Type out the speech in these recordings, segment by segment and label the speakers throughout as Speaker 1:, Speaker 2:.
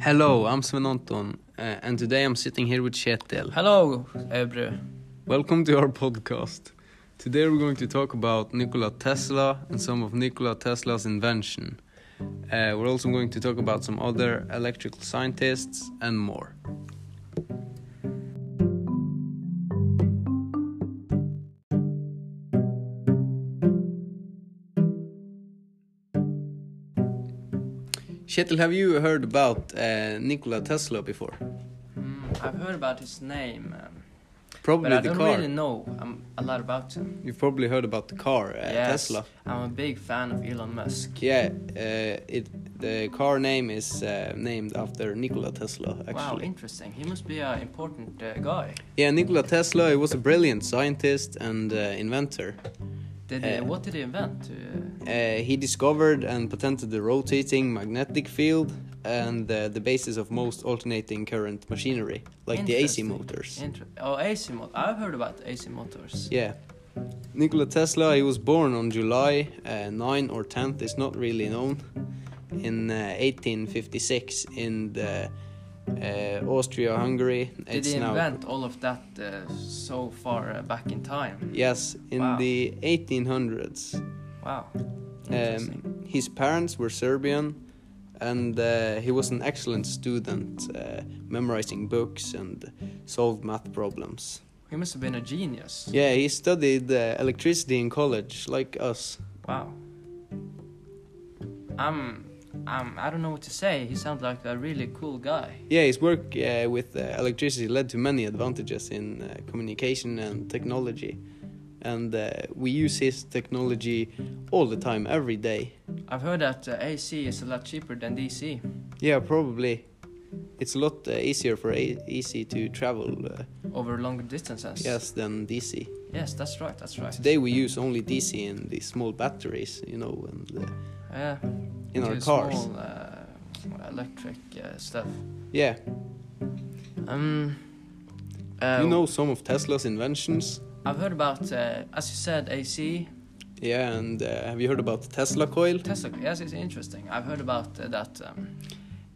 Speaker 1: Hello, I'm Sven Anton, uh, and today I'm sitting here with Kjetil.
Speaker 2: Hello, Ebru.
Speaker 1: Welcome to our podcast. Today we're going to talk about Nikola Tesla and some of Nikola Tesla's invention. Uh, we're also going to talk about some other electrical scientists and more. Kjetil, have you heard about uh, Nikola Tesla before?
Speaker 2: Mm, I've heard about his name, um,
Speaker 1: Probably
Speaker 2: but I
Speaker 1: the
Speaker 2: don't
Speaker 1: car.
Speaker 2: really know um, a lot about him.
Speaker 1: You've probably heard about the car, uh,
Speaker 2: Yes,
Speaker 1: Tesla.
Speaker 2: I'm a big fan of Elon Musk.
Speaker 1: Yeah, uh, it the car name is uh, named after Nikola Tesla.
Speaker 2: Wow,
Speaker 1: Actually,
Speaker 2: interesting. He must be an important uh, guy.
Speaker 1: yeah, Nikola Tesla. He was a brilliant scientist and uh, inventor.
Speaker 2: Did he,
Speaker 1: Uh,
Speaker 2: what did he invent? Uh,
Speaker 1: Uh, he discovered and patented the rotating magnetic field and uh, the basis of most alternating current machinery, like the AC
Speaker 2: interesting.
Speaker 1: motors.
Speaker 2: Inter- oh, AC motors. I've heard about AC motors.
Speaker 1: Yeah. Nikola Tesla, he was born on July uh, 9 or 10th, it's not really known, in uh, 1856 in the, uh, Austria Hungary.
Speaker 2: Did
Speaker 1: it's
Speaker 2: he
Speaker 1: now,
Speaker 2: invent all of that uh, so far uh, back in time?
Speaker 1: Yes, in
Speaker 2: Wow.
Speaker 1: the 1800s.
Speaker 2: Wow. Interesting.
Speaker 1: Um, his parents were Serbian and uh, he was an excellent student, uh, memorizing books and solved math problems.
Speaker 2: he must have been a genius.
Speaker 1: Yeah, he studied uh, electricity in college, like us.
Speaker 2: Wow. Um, um, I don't know what to say. He sounds like a really cool guy.
Speaker 1: Yeah, his work uh, with uh, electricity led to many advantages in uh, communication and technology. And uh, we use his technology all the time, every day.
Speaker 2: I've heard that uh, AC is a lot cheaper than DC.
Speaker 1: Yeah, probably. It's a lot uh, easier for a- AC to travel, uh,
Speaker 2: over longer distances.
Speaker 1: yes, than DC.
Speaker 2: Yes, that's right. That's right.
Speaker 1: Today we use only DC in the small batteries, you know, and uh,
Speaker 2: Yeah.
Speaker 1: in our
Speaker 2: to
Speaker 1: cars.
Speaker 2: Small, uh, electric uh, stuff.
Speaker 1: Yeah,
Speaker 2: Um. Uh,
Speaker 1: you know some of Tesla's inventions.
Speaker 2: I've heard about, uh, as you said, AC
Speaker 1: Yeah, and uh, have you heard about the Tesla coil?
Speaker 2: Tesla. Yes, it's interesting. I've heard about uh, that. Um,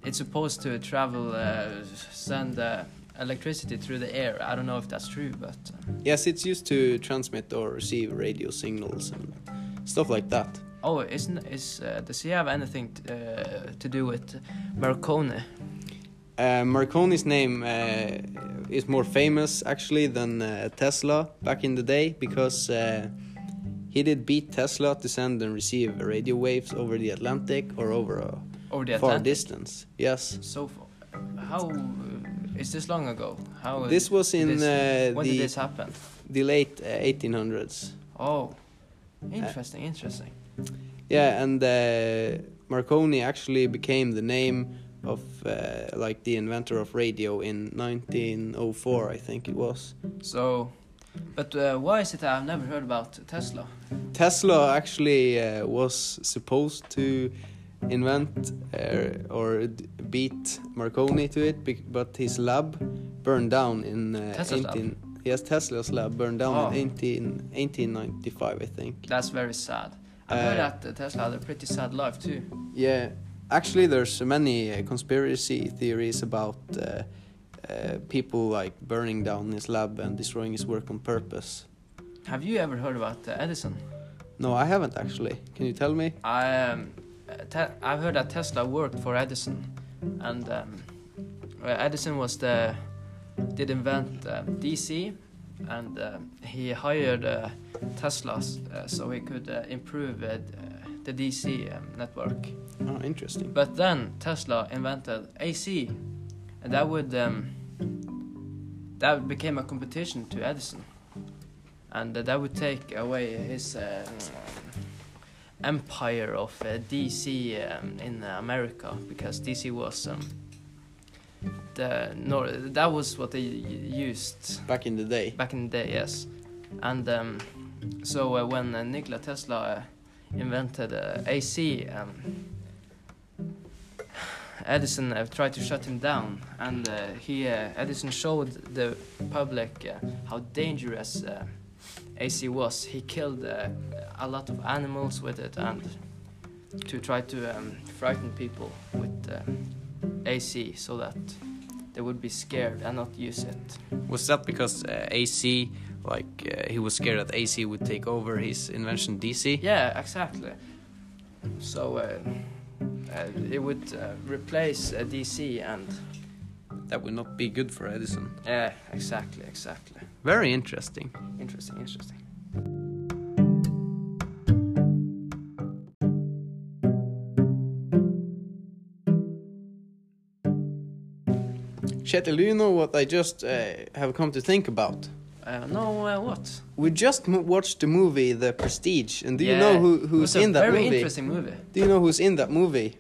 Speaker 2: it's supposed to travel, uh, send uh, electricity through the air. I don't know if that's true, but um,
Speaker 1: Yes, it's used to transmit or receive radio signals and stuff like that.
Speaker 2: Oh, isn't is uh, does he have anything t- uh, to do with Marconi?
Speaker 1: Uh, Marconi's name uh, is more famous actually than uh, Tesla back in the day because uh, he did beat Tesla to send and receive radio waves over the Atlantic or over a
Speaker 2: Over the
Speaker 1: far
Speaker 2: Atlantic?
Speaker 1: distance. Yes.
Speaker 2: So, f- how uh, is this long ago? How
Speaker 1: This was in
Speaker 2: Oh, this-
Speaker 1: uh,
Speaker 2: when did
Speaker 1: the,
Speaker 2: this happen?
Speaker 1: the late uh, 1800s.
Speaker 2: Oh, interesting, interesting.
Speaker 1: Yeah, and uh, Marconi actually became the name of uh, like the inventor of radio in 1904, I think it was.
Speaker 2: So, but uh, why is it that I've never heard about Tesla?
Speaker 1: Tesla actually uh, was supposed to invent uh, or d- beat Marconi to it, bec- but his lab burned down in uh,
Speaker 2: Tesla's lab?
Speaker 1: 18 Yes, Tesla's lab burned down
Speaker 2: Oh.
Speaker 1: in 18, 1895, I think.
Speaker 2: That's very sad. I've heard
Speaker 1: Uh,
Speaker 2: that uh, Tesla had a pretty sad life too.
Speaker 1: Yeah, actually, there's many uh, conspiracy theories about uh, uh, people like burning down his lab and destroying his work on purpose.
Speaker 2: Have you ever heard about uh, Edison?
Speaker 1: No, I haven't actually. Can you tell me?
Speaker 2: I um, uh, te- I've heard that Tesla worked for Edison, and um, uh, Edison was the did invent uh, DC, and uh, he hired uh, Tesla uh, so he could uh, improve uh, the DC um, network.
Speaker 1: Oh, interesting.
Speaker 2: But then Tesla invented AC, and that would um, that became a competition to Edison, and uh, that would take away his uh, empire of uh, DC um, in America because DC was um, the nor- that was what they u- used
Speaker 1: Back in the day.
Speaker 2: back in the day, yes. And um, so uh, when uh, Nikola Tesla uh, invented uh, AC, um, Edison uh, tried to shut him down, and uh, he uh, Edison showed the public uh, how dangerous uh, AC was. He killed uh, a lot of animals with it, and to try to um, frighten people with uh, AC so that they would be scared and not use it.
Speaker 1: Was that because uh, AC, like uh, he was scared that AC would take over his invention DC?
Speaker 2: Yeah, exactly. So uh, uh, it would uh, replace uh, DC and
Speaker 1: That would not be good for Edison.
Speaker 2: yeah, exactly, exactly.
Speaker 1: Very interesting.
Speaker 2: Interesting, interesting.
Speaker 1: Kjetil, do you know what I just uh, have come to think about?
Speaker 2: Uh, no, uh, what?
Speaker 1: We just m- watched the movie The Prestige, and do you
Speaker 2: Yeah,
Speaker 1: know who,
Speaker 2: it
Speaker 1: who's
Speaker 2: was a
Speaker 1: in that
Speaker 2: very
Speaker 1: movie?
Speaker 2: interesting movie.
Speaker 1: Do you know who's in that movie?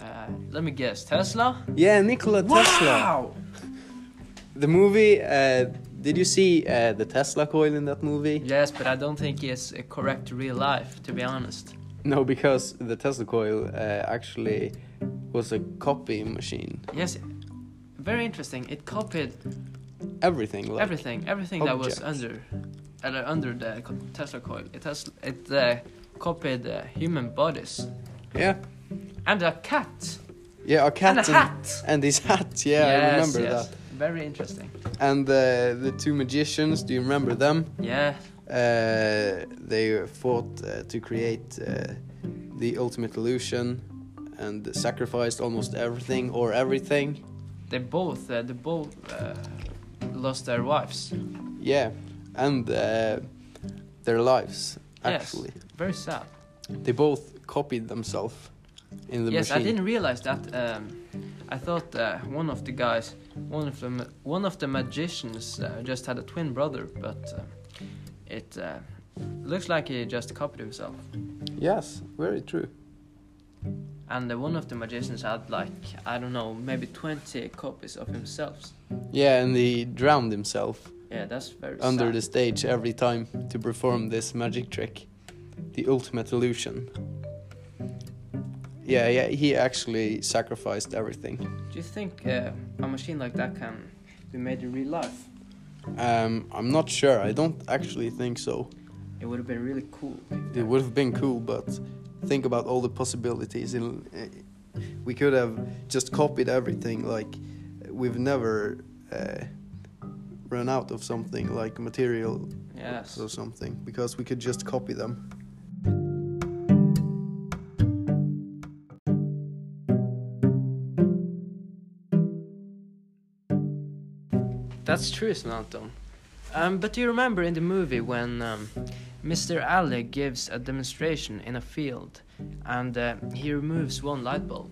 Speaker 2: Uh, let me guess, Tesla.
Speaker 1: Yeah, Nikola Tesla.
Speaker 2: Wow!
Speaker 1: The movie. Uh, did you see uh, the Tesla coil in that movie?
Speaker 2: Yes, but I don't think he is uh, correct to real life, to be honest.
Speaker 1: No, because the Tesla coil uh, actually was a copy machine.
Speaker 2: Yes, very interesting. It copied
Speaker 1: Everything. Like,
Speaker 2: everything, everything that was under, uh, under the co- Tesla coil. It has, it uh, copied uh, human bodies
Speaker 1: Yeah.
Speaker 2: and a cat
Speaker 1: Yeah, a
Speaker 2: and
Speaker 1: cat.
Speaker 2: a hat.
Speaker 1: and his hat. Yeah, I
Speaker 2: yes,
Speaker 1: remember
Speaker 2: yes.
Speaker 1: that.
Speaker 2: Very interesting.
Speaker 1: And uh, the the two magicians. Do you remember them?
Speaker 2: Yeah,
Speaker 1: Uh, they fought uh, to create uh, the ultimate illusion, and sacrificed almost everything or everything.
Speaker 2: they both, uh, they both uh, lost their wives.
Speaker 1: Yeah, and uh, their lives
Speaker 2: Yes.
Speaker 1: actually.
Speaker 2: Very sad.
Speaker 1: They both copied themselves in the
Speaker 2: yes,
Speaker 1: machine.
Speaker 2: I didn't realize that. Um, I thought uh, one of the guys, one of the ma- one of the magicians, uh, just had a twin brother, but uh, it uh, looks like he just copied himself.
Speaker 1: Yes, very true.
Speaker 2: And uh, one of the magicians had like I don't know, maybe twenty copies of himself.
Speaker 1: Yeah, and he drowned himself
Speaker 2: Yeah, that's very
Speaker 1: under
Speaker 2: sad.
Speaker 1: the stage every time to perform this magic trick, the ultimate illusion. Yeah, yeah, he actually sacrificed everything.
Speaker 2: Do you think uh, a machine like that can be made in real life?
Speaker 1: Um, I'm not sure. I don't actually think so.
Speaker 2: It would have been really cool.
Speaker 1: It would have been cool, but think about all the possibilities. In, uh, we could have just copied everything. Like we've never uh, run out of something, like material
Speaker 2: Yes.
Speaker 1: or something, because we could just copy them.
Speaker 2: That's true, Svanton. Um, but do you remember in the movie when um, Mr. Alley gives a demonstration in a field and uh, he removes one light bulb?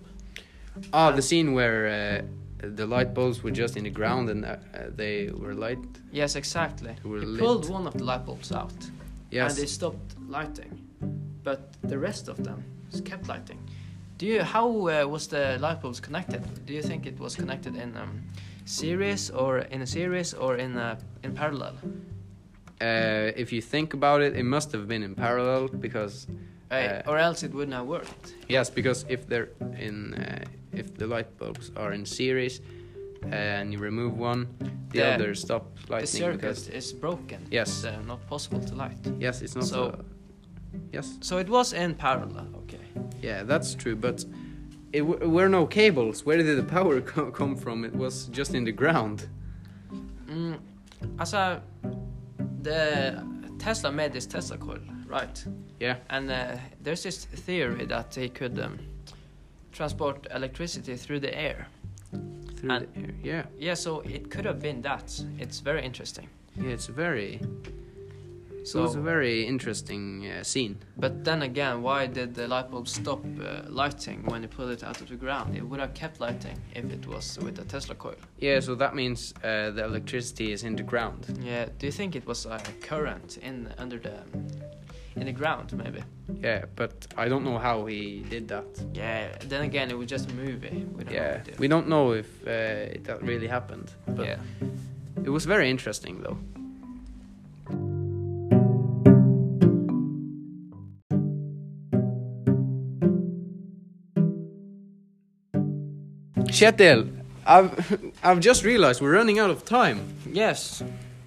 Speaker 1: Ah, the scene where uh, the light bulbs were just in the ground and uh, uh, they were light.
Speaker 2: Yes, exactly.
Speaker 1: They were
Speaker 2: he
Speaker 1: lit.
Speaker 2: pulled one of the light bulbs out and
Speaker 1: Yes.
Speaker 2: they stopped lighting, but the rest of them s- kept lighting. Do you how uh, was the light bulbs connected? Do you think it was connected in um, series or in a series or in uh, in parallel?
Speaker 1: Uh, if you think about it, it must have been in parallel because
Speaker 2: Uh,
Speaker 1: Uh,
Speaker 2: or else it wouldn't have worked.
Speaker 1: Yes, because if they're in, uh, if the light bulbs are in series, uh, and you remove one, the
Speaker 2: Yeah.
Speaker 1: other stop lighting.
Speaker 2: the circuit
Speaker 1: because-
Speaker 2: is broken.
Speaker 1: Yes.
Speaker 2: It's uh, not possible to light.
Speaker 1: yes, it's not.
Speaker 2: So-
Speaker 1: a- yes,
Speaker 2: So it was in parallel, okay.
Speaker 1: yeah, that's true. But it w- were no cables. Where did the power co- come from? It was just in the ground.
Speaker 2: Mm, alltså, the Tesla made this Tesla coil, right?
Speaker 1: Yeah.
Speaker 2: And uh, there's this theory that they could um, transport electricity through the air.
Speaker 1: Through
Speaker 2: And-
Speaker 1: the air. Yeah,
Speaker 2: Yeah, so it could have been that. It's very interesting.
Speaker 1: yeah. It's very. So it was a
Speaker 2: So,
Speaker 1: very interesting uh, scene.
Speaker 2: but then again, why did the light bulb stop uh, lighting when you pulled it out of the ground? It would have kept lighting if it was with a Tesla coil.
Speaker 1: Yeah, so that means uh, the electricity is in the ground.
Speaker 2: Yeah, do you think it was a current in under the in the ground maybe?
Speaker 1: Yeah, but I don't know how he did that.
Speaker 2: Yeah. Then again, it was just a movie. We don't
Speaker 1: Yeah,
Speaker 2: know.
Speaker 1: we don't know if uh, it- that really happened, but
Speaker 2: yeah.
Speaker 1: it was very interesting though. Kjetil, I've I've just realized we're running out of time,
Speaker 2: Yes.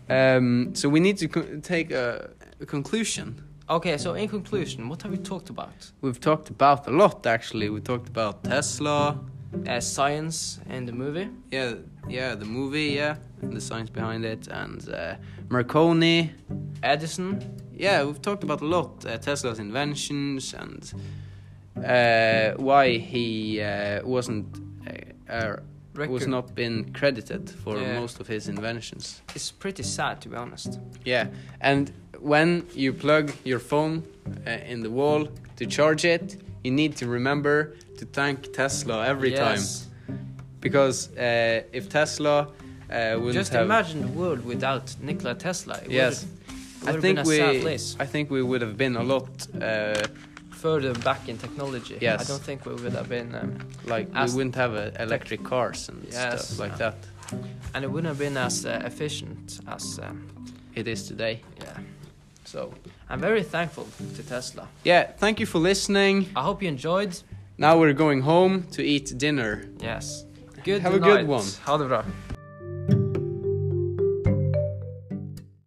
Speaker 1: um, so we need to co- take a, a conclusion.
Speaker 2: Okay. So in conclusion, what have we talked about?
Speaker 1: We've talked about a lot actually. We talked about Tesla,
Speaker 2: uh, science in the movie.
Speaker 1: Yeah, yeah, the movie, yeah, and the science behind it, and uh, Marconi.
Speaker 2: Edison,
Speaker 1: Yeah, we've talked about a lot uh, Tesla's inventions and uh, why he uh, wasn't uh, uh, was
Speaker 2: record.
Speaker 1: not been credited for
Speaker 2: Yeah.
Speaker 1: most of his inventions.
Speaker 2: It's pretty sad to be honest.
Speaker 1: Yeah, and when you plug your phone uh, in the wall to charge it, you need to remember to thank Tesla every time
Speaker 2: Yes.
Speaker 1: because uh, if Tesla uh, wouldn't
Speaker 2: Just
Speaker 1: have,
Speaker 2: imagine the world without Nikola Tesla. It
Speaker 1: Yes.
Speaker 2: would've- It
Speaker 1: I
Speaker 2: would have been
Speaker 1: think
Speaker 2: a
Speaker 1: we,
Speaker 2: sad place.
Speaker 1: I think we would have been a lot uh,
Speaker 2: Further back in technology,
Speaker 1: Yes.
Speaker 2: I don't think we would have been, um,
Speaker 1: like
Speaker 2: As-
Speaker 1: we wouldn't have uh, electric cars and
Speaker 2: Yes.
Speaker 1: stuff like that.
Speaker 2: and it wouldn't have been as uh, efficient as, um,
Speaker 1: It is today.
Speaker 2: yeah.
Speaker 1: So
Speaker 2: I'm very thankful to Tesla.
Speaker 1: yeah, thank you for listening.
Speaker 2: I hope you enjoyed.
Speaker 1: Now we're going home to eat dinner.
Speaker 2: Yes. Good
Speaker 1: Have a good
Speaker 2: night.
Speaker 1: one.
Speaker 2: Ha det bra.